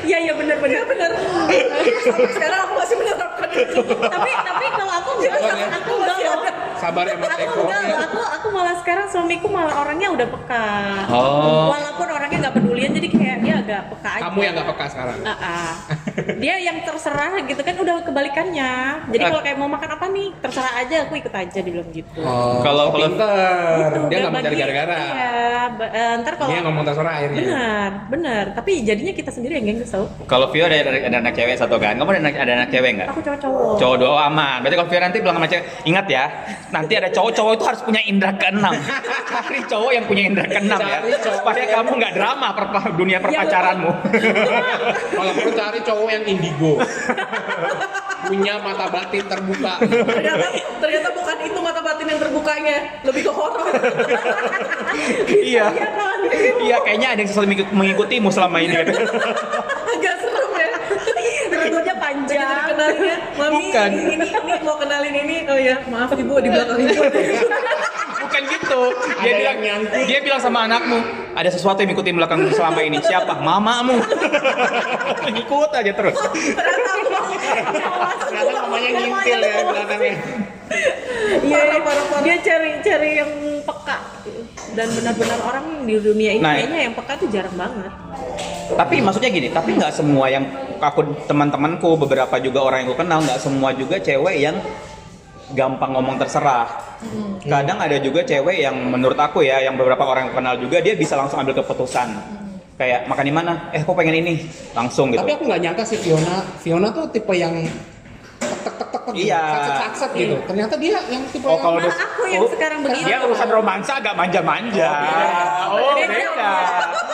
S3: Iya, iya benar-benar benar.
S4: Sampai sekarang aku masih menerapkan itu.
S3: tapi tapi kalau aku enggak,
S1: Sabar ya.
S3: aku enggak loh.
S1: Sabar ya, Mas
S3: Aku
S1: Eko.
S3: enggak loh, aku aku malah sekarang suamiku malah orangnya udah peka.
S2: Oh.
S3: Walaupun orangnya nggak pedulian jadi kayak dia agak peka aja.
S1: Kamu yang nggak peka sekarang.
S3: Ah, ah. dia yang terserah gitu kan udah kebalikannya
S1: Ah.
S3: jadi kalau kayak mau makan apa nih terserah aja aku ikut aja dibilang gitu
S1: Oh,
S2: Kalau- kalau-
S1: pinter.
S3: Tuh,
S1: dia
S3: udah
S1: nggak mau cari
S3: bagi-
S1: gara-gara.
S3: iya ba- eh, ntar kalau
S1: Dia ngomong terserah akhirnya.
S3: benar benar tapi jadinya kita sendiri yang gengges tau
S2: Kalau Vio ada, ada anak cewek satu kan, kamu ada anak, ada anak cewek nggak?
S3: aku cowok cowok
S2: Cowok doa aman. Berarti kalau Vio nanti bilang sama cewek, ingat ya, nanti ada cowok-cowok itu harus punya indera keenam. Cari cowok yang punya indera keenam ya,
S1: Cari cowok Iya,
S2: supaya kamu nggak drama perpa- dunia perpacaranmu.
S1: Kalau perlu cari cowok yang indigo. Punya mata batin terbuka.
S4: Ternyata ternyata bukan itu mata batin yang terbukanya, lebih ke horor.
S2: iya,
S3: Iya kan?
S2: iya kayaknya ada yang selalu mengik- mengikutimu selama ini.
S4: Agak serem ya.
S3: Rambutnya
S4: Jadi
S3: panjang.
S4: kenalinnya, mami
S2: Bukan.
S4: ini, ini, ini mau kenalin ini, oh ya maaf ibu di belakang ibu.
S2: Bukan gitu. Dia
S1: Ada
S2: bilang,
S1: yang nyangkut.
S2: dia bilang sama anakmu, ada sesuatu yang ngikutin belakangmu selama ini. Siapa? Mamamu. Ngikut aja terus.
S4: Ternyata aku mau
S1: Ternyata mamanya ngintil ya belakangnya.
S3: Iya,
S4: Parah, parah, parah.
S3: dia cari-cari yang peka dan benar-benar orang di dunia ini
S2: Nah, ya.
S3: kayaknya yang peka tuh jarang banget.
S2: Tapi maksudnya gini, tapi nggak semua yang aku teman-temanku beberapa juga orang yang aku kenal nggak semua juga cewek yang gampang ngomong terserah. Kadang ada juga cewek yang menurut aku ya, yang beberapa orang yang aku kenal juga dia bisa langsung ambil keputusan. Kayak makan di mana? Eh, aku pengen ini langsung gitu.
S1: Tapi aku nggak nyangka sih Fiona. Fiona tuh tipe yang tek tek tek tek gitu.
S2: Iya.
S1: Sakset sakset gitu. Ternyata dia yang tipe
S2: Oh,
S1: yang
S2: kalau
S3: Malah
S2: dia-
S3: aku yang
S2: oh,
S3: sekarang begini.
S2: dia urusan romansa agak manja-manja. Oh,
S3: Beda.
S2: beda.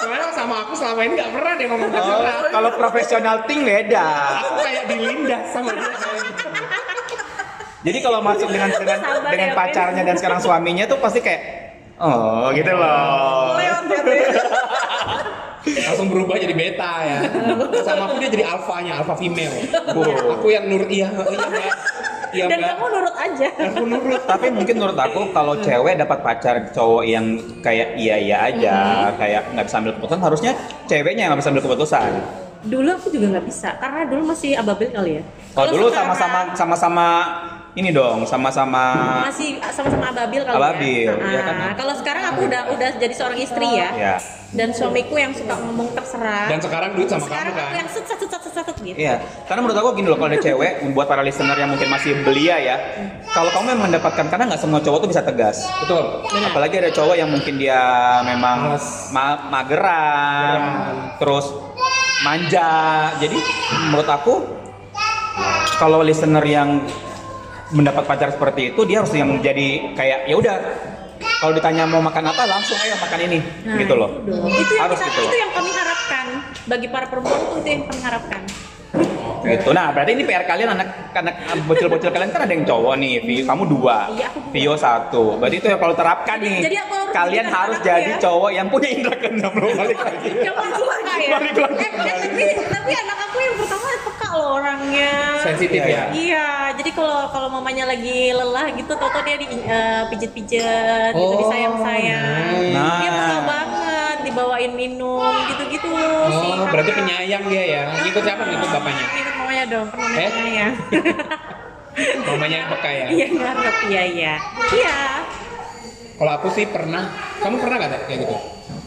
S1: Soalnya sama aku selama ini nggak pernah dia ngomong
S2: Oh,
S1: terserah.
S2: kalau profesional ting beda.
S1: Aku kayak dilindas sama dia.
S2: Jadi kalau masuk dengan dengan,
S3: Sabar
S2: dengan
S3: ya, Vin.
S2: pacarnya dan sekarang suaminya tuh pasti kayak oh gitu loh.
S1: Oh.
S4: lewat bebe.
S1: Langsung berubah jadi beta ya. Sama aku dia jadi alfanya, alfa female.
S2: Oh.
S1: Aku yang nurut iya, iya mbak. Iya
S3: Dan
S1: mbak.
S3: kamu nurut aja.
S1: Aku nurut.
S2: Tapi mungkin menurut aku kalau cewek dapat pacar cowok yang kayak iya iya aja,
S3: Mm-hmm.
S2: kayak nggak bisa ambil keputusan, harusnya ceweknya yang nggak bisa ambil keputusan.
S3: Dulu aku juga nggak bisa karena dulu masih ababel kali ya.
S1: Oh,
S2: Kalau dulu
S3: sekarang
S2: sama-sama sama-sama ini dong, sama-sama
S3: masih sama-sama ababil kali
S2: Ababil,
S3: ya.
S2: iya
S3: Ah,
S2: kan?
S3: Kalau sekarang aku udah udah jadi seorang istri ya.
S2: ya.
S3: Dan suamiku yang suka ngomong terserah.
S1: Iya. Dan sekarang duit sama kamu
S3: sekarang
S1: kan.
S3: aku yang set set set set, set, set, gitu.
S2: Iya, karena menurut aku gini loh kalau ada cewek buat para listener yang mungkin masih belia ya, kalau kamu memang mendapatkan karena nggak semua cowok tuh bisa tegas.
S1: Betul.
S2: Apalagi ada cowok yang mungkin dia memang
S1: Males.
S2: ma- mageran, terus manja. Jadi menurut aku kalau listener yang mendapat pacar seperti itu dia harus yang jadi kayak ya udah kalau ditanya mau makan apa langsung ayo makan ini
S3: Nah,
S2: gitu loh.
S3: Itu, dong. Itu yang
S2: Harus
S3: kita,
S2: gitu loh.
S3: itu yang kami harapkan bagi para perempuan tuh itu yang kami harapkan.
S2: Gitu. Nah, berarti ini PR kalian anak anak bocil-bocil kalian kan ada yang cowok nih, Vi- kamu dua,
S3: Iya, aku dua.
S2: Vio satu. Berarti itu yang kalau terapkan
S3: Jadi-
S2: nih,
S3: jadi aku harus
S2: kalian
S3: menjadikan
S2: harus
S3: anak
S2: jadi
S3: ya. Iya.
S2: cowok yang punya indra keenam loh balik lagi.
S3: Yang aku suka ya.
S2: Balik lagi.
S3: Eh, eh, tapi, tapi anak aku yang pertama peka loh orangnya.
S1: Sensitif ya.
S3: Iya, jadi kalau kalau mamanya lagi lelah gitu, toto dia di eh, pijet-pijet, gitu
S1: Oh,
S3: disayang-sayang.
S2: nice.
S3: Dia peka banget, dibawain minum, gitu-gitu. si
S1: Oh,
S3: kakak.
S1: berarti penyayang dia ya. Ngikut siapa? Ngikut bapaknya.
S3: Ikut mamanya dong, kan mamanya
S1: Eh?
S3: penyayang.
S1: Mamanya yang peka ya.
S3: Iya ngarep, iya iya. Iya.
S1: Kalau aku sih pernah, kamu pernah nggak Teh, kayak gitu?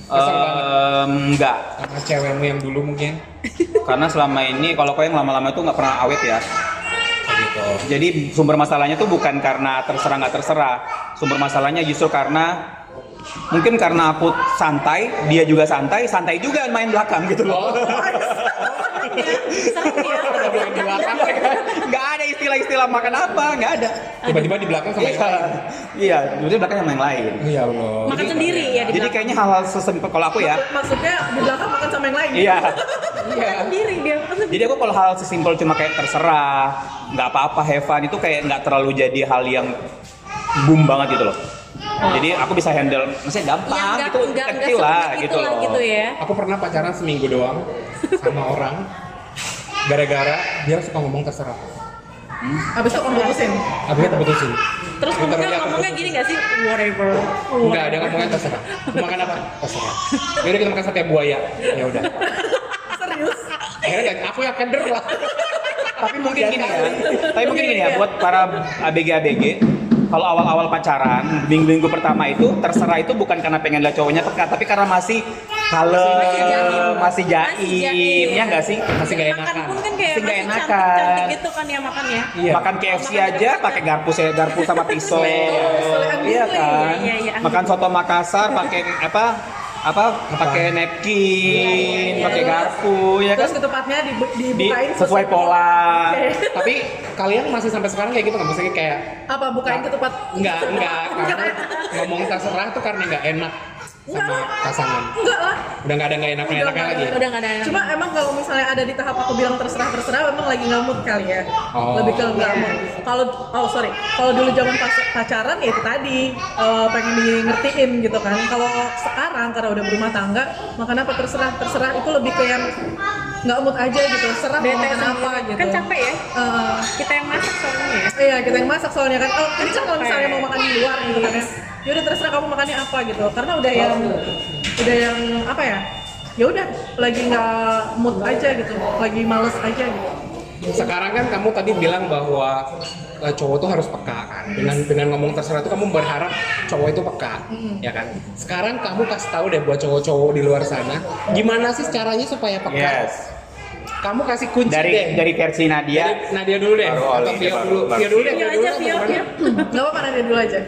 S1: Kesel banget
S2: Ehm, enggak,
S1: sama cewekmu yang dulu mungkin.
S2: karena selama ini kalau kau yang lama-lama itu nggak pernah awet ya.
S1: Kayak gitu.
S2: Jadi sumber masalahnya tuh bukan karena terserah nggak terserah, sumber masalahnya justru karena mungkin
S1: Oh,
S2: Oh. karena aku santai, dia juga santai, santai juga main belakang gitu loh.
S3: ya, serem ya.
S2: Ada bilang di belakang,
S1: ya
S2: nggak ada istilah-istilah makan apa, nggak ada.
S1: kan? Tiba-tiba di belakang sama ya? yang
S2: Iya,
S1: lain.
S2: iya, jadi belakang sama yang lain.
S1: Ya Allah.
S3: Makan sendiri ya di
S2: Jadi
S3: belakang.
S2: kayaknya hal-hal sesimpel kalau aku ya.
S4: Maksudnya di belakang makan sama yang lain.
S2: Iya.
S3: Makan sendiri dia. makan sendiri.
S2: Jadi aku kalau hal sesimpel cuma kayak terserah, nggak apa-apa have fun itu kayak nggak terlalu jadi hal yang boom banget gitu loh. Jadi aku bisa handle, maksudnya
S3: Iya,
S2: gampang
S3: Oh. nggak-
S2: gitu,
S3: nggak- nggak
S2: kecil lah
S3: semenit
S2: gitu
S3: itulah
S2: loh.
S3: gitu ya.
S1: Aku pernah pacaran seminggu doang sama orang. Gara-gara dia suka ngomong terserah.
S4: Abis itu kamu putusin.
S1: Akhirnya keputusin.
S3: Terus ngomongnya
S1: Literally Iya, aku
S3: ngomongnya
S1: putusin.
S3: gini gak sih? Whatever.
S1: Enggak, dia ngomongnya terserah. Mau makan apa? Terserah. Yaudah kita makan sate buaya. Ya udah.
S4: Serius?
S1: Akhirnya nggak- aku yang kender lah.
S2: tapi mungkin gini ya tapi mungkin gini ya buat para abg abg kalau awal-awal pacaran minggu-minggu pertama itu terserah itu bukan karena pengen lihat cowoknya teka, tapi karena masih kalem
S3: Masih jaim.
S2: masih
S3: Masih jaim.
S2: jaim ya nggak sih
S1: Masih nggak
S3: Makan
S1: enakan.
S3: pun kan kayak
S2: Masih nggak
S3: masih
S2: enakan.
S3: cantik-cantik gitu kan ya makan ya.
S1: Iya.
S2: makan KFC aja pakai garpu saya garpu sama pisau iya kan
S3: Iya, iya, iya.
S2: makan soto Makassar pakai apa apa pakai napkin pakai garpu ya
S4: Terus
S2: kan
S4: ketepatnya dibu-
S2: Di-
S4: dibukain
S2: sesuai pola
S4: Oke.
S1: Tapi kalian masih sampai sekarang kayak gitu nggak? Maksudnya kayak
S4: Apa bukain ketupat?
S1: Enggak, enggak. Karena ngomong terserah tuh karena nggak enak sama pasangan.
S4: Enggak lah.
S1: Udah nggak ada nggak enak enaknya lagi.
S3: Udah nggak ada enak.
S4: Cuma emang kalau misalnya ada di tahap aku bilang terserah terserah, emang lagi ngamut kali ya.
S1: Oh.
S4: Lebih ke ngamut. Kalau oh sorry, kalau dulu zaman pas- pacaran ya itu tadi eh, pengen di ngertiin gitu kan. Kalau sekarang karena udah berumah tangga, makan apa terserah terserah itu lebih ke yang nggak mood aja gitu. Serah mau
S3: Bete
S4: makan apa
S3: sendiri.
S4: gitu.
S3: Kan capek ya.
S4: Eh,
S3: Kita yang masak soalnya ya.
S4: Iya kita yang masak soalnya kan. Oh ini kan kalau misalnya
S3: Capek.
S4: mau makan di luar gitu kan ya. Ya udah terserah kamu makannya apa gitu. Karena udah yang udah yang apa ya? Ya udah lagi nggak mood aja gitu, lagi males aja gitu.
S1: Sekarang kan kamu tadi bilang bahwa eh, cowok tuh harus peka kan. Dengan dengan ngomong terserah tuh kamu berharap cowok itu peka,
S3: Hmm.
S1: ya kan? Sekarang kamu kasih tahu deh buat cowok-cowok di luar sana, gimana sih caranya supaya peka?
S2: yes
S1: Kamu kasih kunci deh.
S2: Iya. dari dari versi Nadia
S1: Dari Nadia dulu deh,
S2: Baru
S1: atau
S2: Oli,
S1: Vio
S2: baru-
S1: dulu.
S2: baru.
S1: Vio dulu deh,
S3: Vio
S1: Vio
S3: Iya aja,
S1: dulu.
S3: Vio,
S1: atau
S3: Vio.
S1: gimana?
S4: Gak apa-apa nanti dulu aja.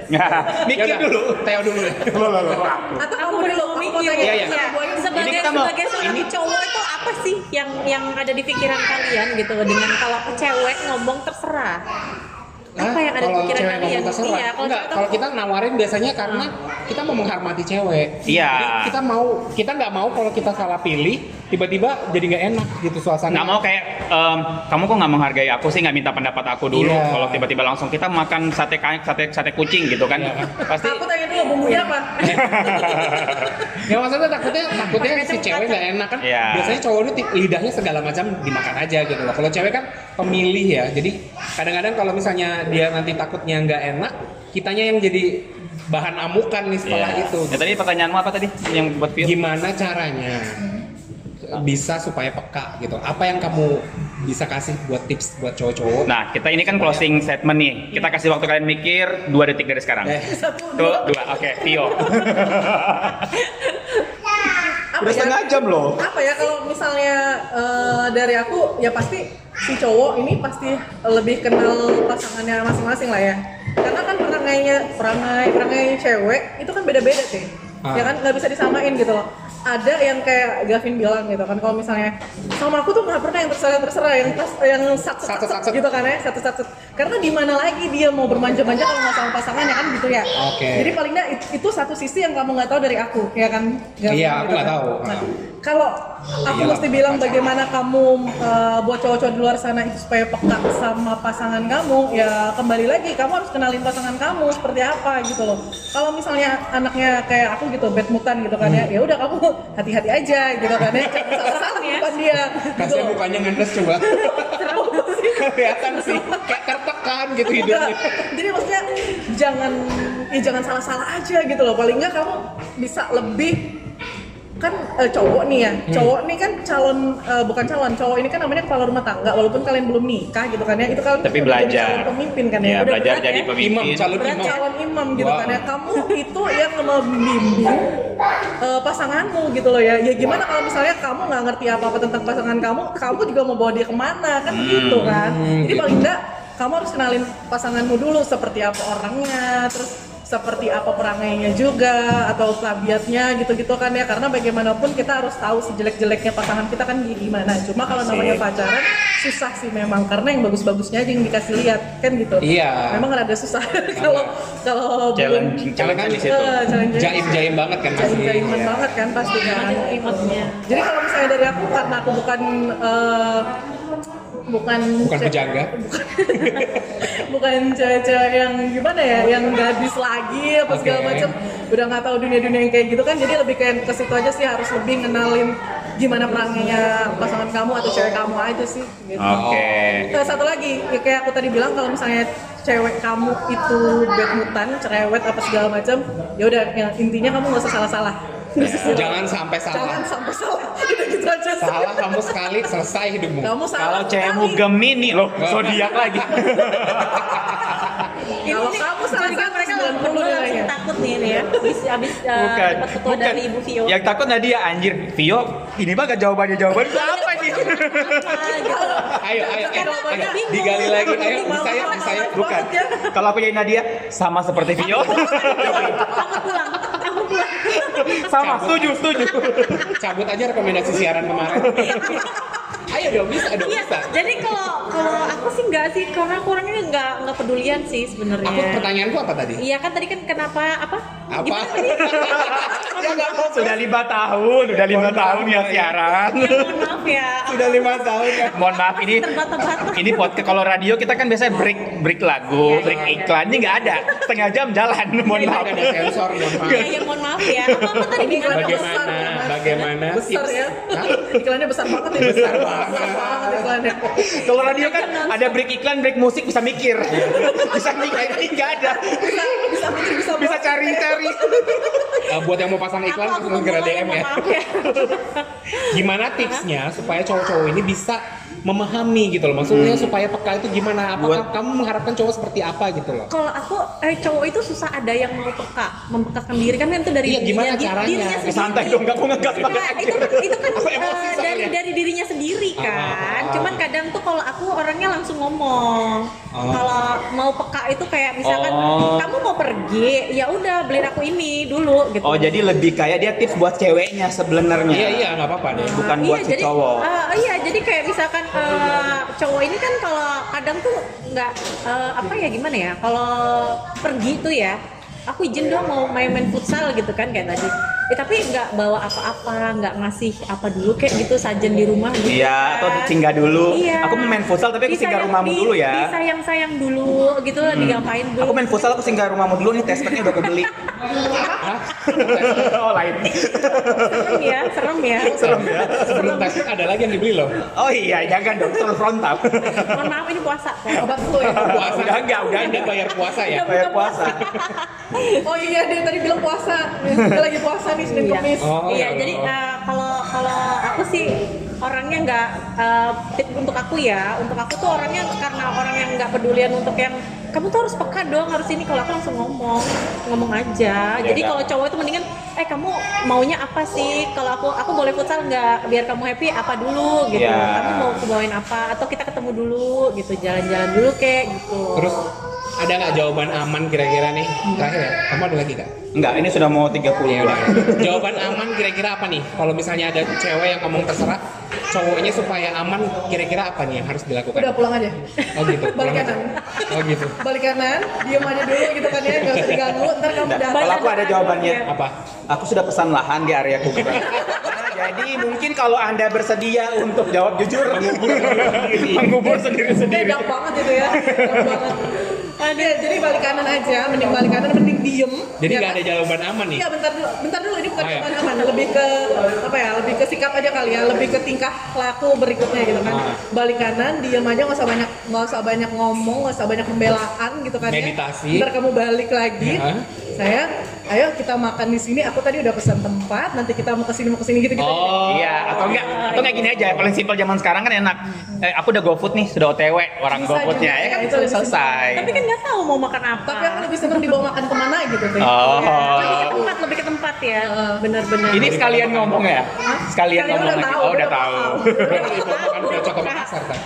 S2: mikir
S1: Yaudah,
S2: dulu
S1: Theo dulu deh.
S4: Atau
S3: Aku
S4: kamu
S3: belum
S4: dulu
S3: mikir.
S4: Aku tanya
S1: Iya, iya.
S4: sama
S3: Iya.
S4: Boy.
S3: Sebagai
S2: kita mau-
S3: sebagai seorang cowok itu apa sih yang yang ada di pikiran kalian gitu dengan kalau cewek ngomong terserah. Apa
S1: Hah?
S3: yang ada di
S1: Kalau
S3: pikiran
S1: cewek
S3: kalian?
S1: ngomong terserah?
S3: Iya,
S1: Enggak,
S3: kalau cewek
S1: kalau
S3: tuh- Hmm.
S1: kita nawarin biasanya karena kita mau menghormati cewek.
S2: Iya.
S1: Jadi kita mau, kita nggak mau kalau kita salah pilih, tiba-tiba jadi nggak enak gitu suasana.
S2: nggak mau kayak em, kamu kok nggak menghargai aku sih nggak minta pendapat aku dulu
S1: Iya.
S2: kalau tiba-tiba langsung kita makan sate kayak sate sate kucing gitu kan
S1: Iya, kan?
S2: pasti
S4: Aku tanya dulu bumbunya apa?
S1: Ya maksudnya takutnya takutnya
S3: Pakai
S1: si
S3: kacang-
S1: cewek nggak enak kan.
S2: Iya.
S1: Biasanya cowok itu ti- lidahnya segala macam dimakan aja gitu loh. Kalau cewek kan pemilih ya. Jadi kadang-kadang kalau misalnya dia nanti takutnya nggak enak, kitanya yang jadi bahan amukan nih setelah
S2: Iya.
S1: itu.
S2: Ya, tadi pertanyaanmu apa tadi yang buat Vio?
S1: Gimana caranya bisa supaya peka gitu? Apa yang kamu bisa kasih buat tips buat cowok-cowok?
S2: Nah, kita ini kan closing statement nih. Kita kasih waktu kalian mikir 2 detik dari sekarang.
S1: Eh,
S4: Satu,
S2: Tuh,
S4: dua,
S2: dua. Oke, Vio.
S4: apa
S2: Udah
S4: ya?
S2: setengah jam loh.
S4: apa ya kalau misalnya eh, dari aku ya pasti si cowok ini pasti lebih kenal pasangannya masing-masing lah ya karena kan perangainya perangai perangai cewek itu kan beda-beda sih
S1: Ah.
S4: ya kan nggak bisa disamain gitu loh ada yang kayak Gavin bilang gitu kan kalau misalnya sama aku tuh nggak pernah yang terserah terserah yang pas yang satu satu
S1: Satset-satset.
S4: gitu kan ya satu satu karena di mana lagi dia mau bermanja-manja kalau nggak sama pasangannya kan gitu ya
S1: Oke.
S4: jadi paling nggak it- itu satu sisi yang kamu nggak tahu dari aku ya kan Gavin,
S1: Iya, aku
S4: gitu
S1: nggak
S4: kan.
S1: tahu.
S4: Nah, kalau aku
S1: Iyalah,
S4: mesti bilang
S1: pacaran.
S4: bagaimana kamu eh, buat cowok-cowok di luar sana itu supaya peka sama pasangan kamu ya kembali lagi kamu harus kenalin pasangan kamu seperti apa gitu loh kalau misalnya anaknya kayak aku gitu bad mutan gitu kan ya ya udah kamu hati-hati aja gitu kan ya jangan salah-salah di depan dia gitu
S1: Kasih
S4: loh.
S1: mukanya ngenes coba. Kelihatan sih kayak tertekan gitu
S4: Enggak.
S1: hidupnya.
S4: jadi maksudnya jangan ya jangan salah-salah aja gitu loh paling nggak kamu bisa lebih kan eh, cowok nih ya
S2: Hmm.
S4: cowok nih kan calon eh, bukan calon cowok ini kan namanya kepala rumah tangga walaupun kalian belum nikah gitu kan ya itu kalian
S2: Tapi
S4: udah jadi calon
S2: belajar.
S4: pemimpin kan ya,
S2: Ya,
S4: Udah
S2: belajar
S4: berat
S2: jadi
S4: ya.
S2: pemimpin.
S1: Imam, calon
S4: Berat
S1: imam.
S4: calon imam gitu
S1: Wow.
S4: kan ya kamu itu yang membimbing eh, pasanganmu gitu loh ya ya gimana kalau misalnya kamu nggak ngerti apa apa tentang pasangan kamu kamu juga mau bawa dia kemana kan gitu kan jadi
S1: Hmm, gitu.
S4: paling enggak kamu harus kenalin pasanganmu dulu seperti apa orangnya terus seperti apa perangainya juga atau tabiatnya gitu-gitu kan ya karena bagaimanapun kita harus tahu sejelek-jeleknya pasangan kita kan gimana cuma kalau namanya
S2: Asik.
S4: pacaran susah sih memang karena yang bagus-bagusnya aja yang dikasih lihat kan gitu
S1: Iya.
S4: memang rada susah kalau kalau belum
S2: challenging challenging di situ
S4: Eh, challenge-nya
S1: Jaim-jaim banget kan masih.
S4: jaim-jaiman banget kan pasti
S2: Iya.
S4: kan
S3: Ada kalimatnya.
S4: jadi kalau misalnya dari aku karena aku bukan eh, bukan
S1: Bukan pejangga.
S4: bukan cewek-cewek yang gimana ya yang gadis lagi apa segala
S1: Oke.
S4: macam udah nggak tahu dunia-dunia yang kayak gitu kan jadi lebih kayak ke situ aja sih harus lebih ngenalin gimana perangnya pasangan kamu atau cewek kamu aja sih gitu.
S2: oke
S4: Terus satu lagi, ya kayak aku tadi bilang kalau misalnya cewek kamu itu bad mutan, cerewet apa segala macam, ya udah yang intinya kamu nggak usah salah-salah.
S1: Jangan sampai salah.
S4: Jangan sampai salah. Gitu gitu aja. sih.
S1: Salah kamu sekali selesai hidupmu.
S4: Kamu salah.
S2: kalau cewekmu
S4: sekali.
S2: gemini loh zodiak lagi
S4: Kalau kamu salah
S3: Jadi kan
S4: satu,
S3: mereka
S4: 90
S3: berdua langsung
S4: nilainya.
S3: takut nih
S4: Iya.
S3: nih ya. Abis abis uh,
S2: bukan
S3: dapat ketua
S2: bukan
S3: dari Ibu Vio.
S2: yang takut tadi ya anjir Vio ini banget jawabannya jawaban
S3: Iya,
S2: apa nih
S3: Apa gitu.
S1: Ayo, ayo, eh, ayo,
S4: Karena
S1: ayo,
S4: bingung.
S1: digali lagi. Ayo,
S4: Bingung
S1: saya,
S4: banget,
S1: saya.
S4: banget
S2: bukan
S4: ya.
S2: kalau aku jadi Nadia sama seperti Vio
S3: Aku pulang. Aku pulang.
S2: sama setuju setuju
S1: Cabut aja rekomendasi siaran kemarin. Ayo dong bisa, dong
S3: Iya,
S1: bisa.
S3: jadi kalau kalau aku sih nggak sih, karena aku orangnya nggak nggak pedulian sih sebenarnya.
S1: Aku pertanyaanku apa tadi?
S3: Iya kan tadi kan kenapa apa?
S1: Apa?
S3: Gimana tadi? Iya,
S1: Ya nggak mau.
S2: sudah lima tahun udah lima tahun ya siaran
S3: Ya, mohon maaf ya.
S1: Sudah lima tahun ya.
S2: mohon maaf ini
S3: Terbata-bata.
S2: ini podcast kalau radio kita kan biasanya break break
S3: Iya,
S2: lagu break iklan ini nggak ada setengah jam jalan mohon maaf
S1: kan Ada
S3: iya,
S1: sensor mohon maaf.
S3: Ya, ya, mohon maaf ya. Apa, apa tadi
S4: Ini
S3: gimana?
S4: iklannya
S1: Bagaimana?
S4: besar ya, Mas.
S1: Bagaimana?
S4: Besar ya.
S1: Hah?
S4: Iklannya besar banget ya. Besar banget iklannya.
S2: kalau radio kan
S3: Iya,
S2: ada break iklan break musik bisa mikir bisa mikir ini nggak ada
S4: Bisa bisa mikir, bisa
S2: bisa cari cari
S1: Eh, buat yang mau pasang
S3: Aku
S1: iklan
S3: aku
S1: langsung segera
S3: mulai,
S1: DM ya.
S3: mohon maaf ya.
S1: Gimana tipsnya supaya cowok-cowok ini bisa memahami gitu loh maksudnya supaya peka itu gimana apakah
S2: Buat-
S1: kamu mengharapkan cowok seperti apa gitu loh
S3: Kalau aku eh, cowok itu susah ada yang mau peka, mempekakan diri kan itu dari
S1: Iya, gimana
S3: dirinya-
S1: caranya?
S3: dirinya sendiri.
S2: santai dong nggak aku ngegas banget
S3: Nah, itu itu kan
S1: Aku
S3: eh,
S1: emosi soalnya.
S3: dari dari dirinya sendiri
S1: Ah,
S3: kan.
S1: ah, ah.
S3: Cuman kadang tuh kalau aku orangnya langsung ngomong.
S1: Oh.
S3: Kalau mau peka itu kayak misalkan
S2: Oh.
S3: kamu mau pergi, ya udah beliin aku ini dulu gitu.
S2: oh jadi lebih kayak dia tips buat ceweknya sebenarnya
S1: iya iya nggak apa-apa deh
S2: bukan buat si
S3: jadi,
S2: cowok.
S3: eh, iya, jadi kayak misalkan eh, cowok ini kan kalau kadang tuh nggak eh, apa ya gimana ya? Kalau pergi tuh ya, aku izin dong mau main-main futsal gitu kan kayak tadi. Eh, tapi nggak bawa apa-apa, nggak ngasih apa dulu kayak gitu sajen di rumah gitu.
S2: Iya, atau
S3: kan.
S2: singgah dulu.
S3: Iya.
S2: Aku mau main futsal tapi aku singgah
S3: Disayang-
S2: rumahmu
S3: di-
S2: dulu ya. Hmm.
S3: Disayang-sayang dulu gitu, digapain dulu.
S2: Aku main futsal aku singgah rumahmu dulu nih tespetnya udah aku beli. oh lain.
S3: serem ya, serem ya.
S1: serem ya sebelum tes ada lagi yang dibeli loh
S2: Oh iya, jangan dong terus frontal.
S3: Mohon maaf ini puasa.
S4: Obat flu ya.
S1: puasa
S2: Udah enggak, udah
S1: Anda bayar puasa ya
S3: Udah
S2: Kayak puasa.
S4: Iya, Oh iya dia tadi bilang puasa. Dia lagi puasa nih Senin
S3: Iya.
S4: Kamis.
S1: Oh,
S3: iya,
S1: ya
S3: jadi
S1: Allah.
S3: eh, kalau kalau aku sih orangnya nggak eh, tip untuk aku ya, untuk aku tuh orangnya karena orang yang nggak pedulian untuk yang kamu tuh harus peka dong harus ini kalau aku langsung ngomong ngomong aja. jadi
S2: kan?
S3: kalau cowok itu mendingan eh kamu maunya apa sih? Kalau aku aku boleh futsal nggak biar kamu happy apa dulu gitu.
S2: Ya.
S3: Kamu mau aku bawain apa atau kita ketemu dulu gitu jalan-jalan dulu kek gitu.
S1: terus ada nggak jawaban aman kira-kira nih terakhir ya kamu ada lagi nggak
S2: Enggak, ini sudah mau 30
S1: Ya
S2: ya.
S1: udah. jawaban aman kira-kira apa nih kalau misalnya ada cewek yang ngomong terserah cowoknya supaya aman kira-kira apa nih yang harus dilakukan
S4: Udah pulang aja.
S1: oh gitu pulang
S4: Balik
S1: aja.
S4: kanan.
S1: oh gitu
S4: Balik kanan, diam aja dulu gitu kan ya, nggak usah diganggu. Ntar kamu
S2: Nggak,
S4: datang.
S2: kalau aku
S3: kan?
S2: ada jawabannya.
S1: apa
S2: Aku sudah pesan lahan di area kuburan. Jadi mungkin kalau Anda bersedia untuk jawab jujur mengubur sendiri-sendiri.
S4: Beda banget itu ya. Dark banget. Ya, jadi balik kanan aja, mending balik kanan, mending diem.
S1: jadi
S4: ya
S1: nggak
S4: kan?
S1: ada jawaban aman nih
S4: Iya bentar dulu, bentar dulu ini bukan
S1: Oh, iya.
S4: jawaban aman, lebih ke apa ya, lebih ke sikap aja kali ya, lebih ke tingkah laku berikutnya gitu kan.
S1: Ah.
S4: Balik kanan, diam aja nggak usah banyak nggak usah banyak ngomong, nggak usah banyak pembelaan gitu kan. ya.
S1: Meditasi.
S4: Ntar kamu balik lagi,
S1: Ya.
S4: saya, ayo kita makan di sini. Aku tadi udah pesan tempat, nanti kita mau kesini mau kesini gitu gitu.
S1: oh
S2: Iya, atau enggak? Atau enggak gini aja, paling simpel zaman sekarang kan enak. Eh, aku udah GoFood nih, sudah OTW orang
S4: Bisa
S2: GoFood-nya
S4: juga,
S2: ya kan sudah
S4: itu lebih simpel.
S2: selesai.
S3: Tapi kan nggak tahu mau makan apa.
S4: Tapi aku lebih seneng dibawa makan kemana gitu. Teh.
S2: Oh.
S3: iya, Lebih ke tempat, lebih ke tempat ya. Benar-benar.
S2: Ini sekalian ngomong ya? Sekalian
S4: Kalian
S2: ngomong
S4: udah
S2: lagi.
S4: tahu,
S2: Oh, udah
S4: udah
S2: tahu.
S1: Berarti itu makan udah cocok ke pasar kan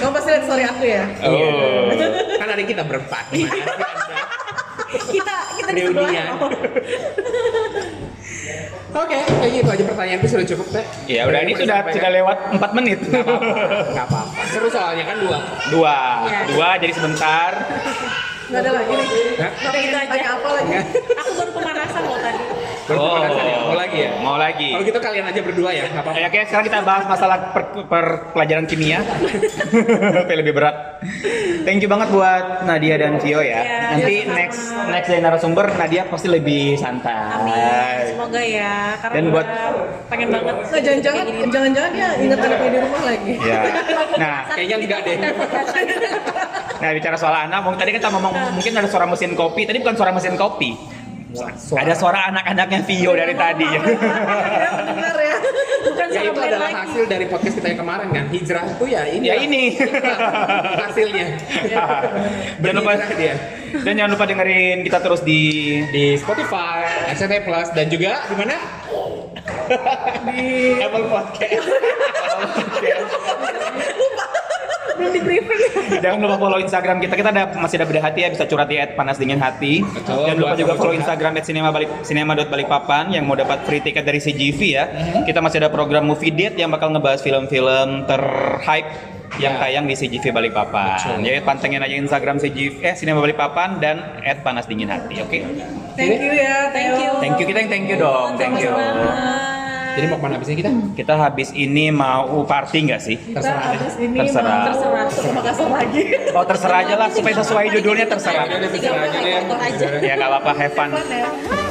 S4: Kamu pasti lihat story aku ya.
S2: Oh.
S1: kan ada kita berempat.
S4: Iya.
S1: Gimana sih Anda?
S3: kita kita di
S1: Reunian.
S3: sebelah
S1: Oke, kayak gitu aja pertanyaanku sudah cukup teh.
S2: Ya udah ini sudah sudah lewat 4 menit.
S1: Gak apa-apa. Seru soalnya kan dua.
S2: Dua,
S3: Ya.
S2: dua jadi sebentar.
S4: Nggak ada lagi nih.
S1: Hah?
S4: Nggak pengen
S3: Itu aja.
S4: tanya apa lagi.
S1: Enggak.
S3: aku baru pemanasan loh tadi
S1: Berarti makan tadi, Mau lagi ya?
S2: Oh. Mau lagi.
S1: Kalau gitu kalian aja berdua ya, nggak apa-apa.
S2: Ya, oke, sekarang kita bahas masalah per, per- pelajaran kimia. Kayak lebih berat. Thank you banget buat Nadia dan Cio ya.
S3: Ya,
S2: Nanti
S3: sama-sama.
S2: next next dari narasumber Nadia pasti lebih
S3: amin
S2: santai.
S3: semoga ya karena
S2: Dan
S3: gua
S2: buat-
S3: pengen banget
S4: Nah, jangan-jangan
S3: kayak gini.
S4: jangan-jangan dia ingat anaknya di rumah lagi.
S2: Ya. Nah,
S1: Kayaknya enggak deh.
S4: ya.
S2: Nah bicara soal anak, mungkin tadi kita ngomong mungkin ada suara mesin kopi. Tadi bukan suara mesin kopi. Ada suara anak-anaknya Vio dari tadi.
S3: Iya,
S4: Ya, benar ya.
S3: bukan
S1: Ya
S3: sama
S1: itu
S3: brand
S1: adalah
S3: lagi
S1: hasil dari podcast kita yang kemarin kan. Hijrah itu ya ini.
S2: ya ini.
S1: hasilnya.
S2: jangan lupa
S1: Berhijrah dia.
S2: dan jangan lupa dengerin kita terus di
S1: Di Spotify, RCTI Plus dan juga di mana? di Apple Podcast.
S3: belum di briefing
S2: jangan lupa follow Instagram kita. Kita ada masih ada beda hati ya bisa curhat di @panasdinginhati.
S1: Betul,
S2: jangan
S1: buat yang mau
S2: lupa juga follow
S1: curhat.
S2: Instagram @cinema balik cinema dot balikpapan yang mau dapat free tiket dari CGV ya.
S1: Mhm.
S2: Kita masih ada program movie date yang bakal ngebahas film-film terhype yang
S1: Ya.
S2: tayang di CGV Balikpapan.
S1: Betul.
S2: Jadi pantengin aja Instagram CGV eh Cinema Balikpapan dan @panasdinginhati. Oke.
S4: Thank you ya.
S3: thank you
S2: Thank you, thank thank you dong. Thank you.
S3: Sama-sama.
S1: Jadi mau kemana habisnya kita?
S2: Kita habis ini mau party nggak sih?
S4: Kita
S1: Terserah.
S4: habis ini
S2: Terserah.
S4: mau ke Makassar lagi.
S2: Oh
S4: Iya,
S2: terserah aja lah supaya sesuai judulnya terserah.
S1: Udah, udah, terserah aja deh.
S3: Kotor aja.
S2: Ya nggak apa-apa, have fun.
S4: Fun ya.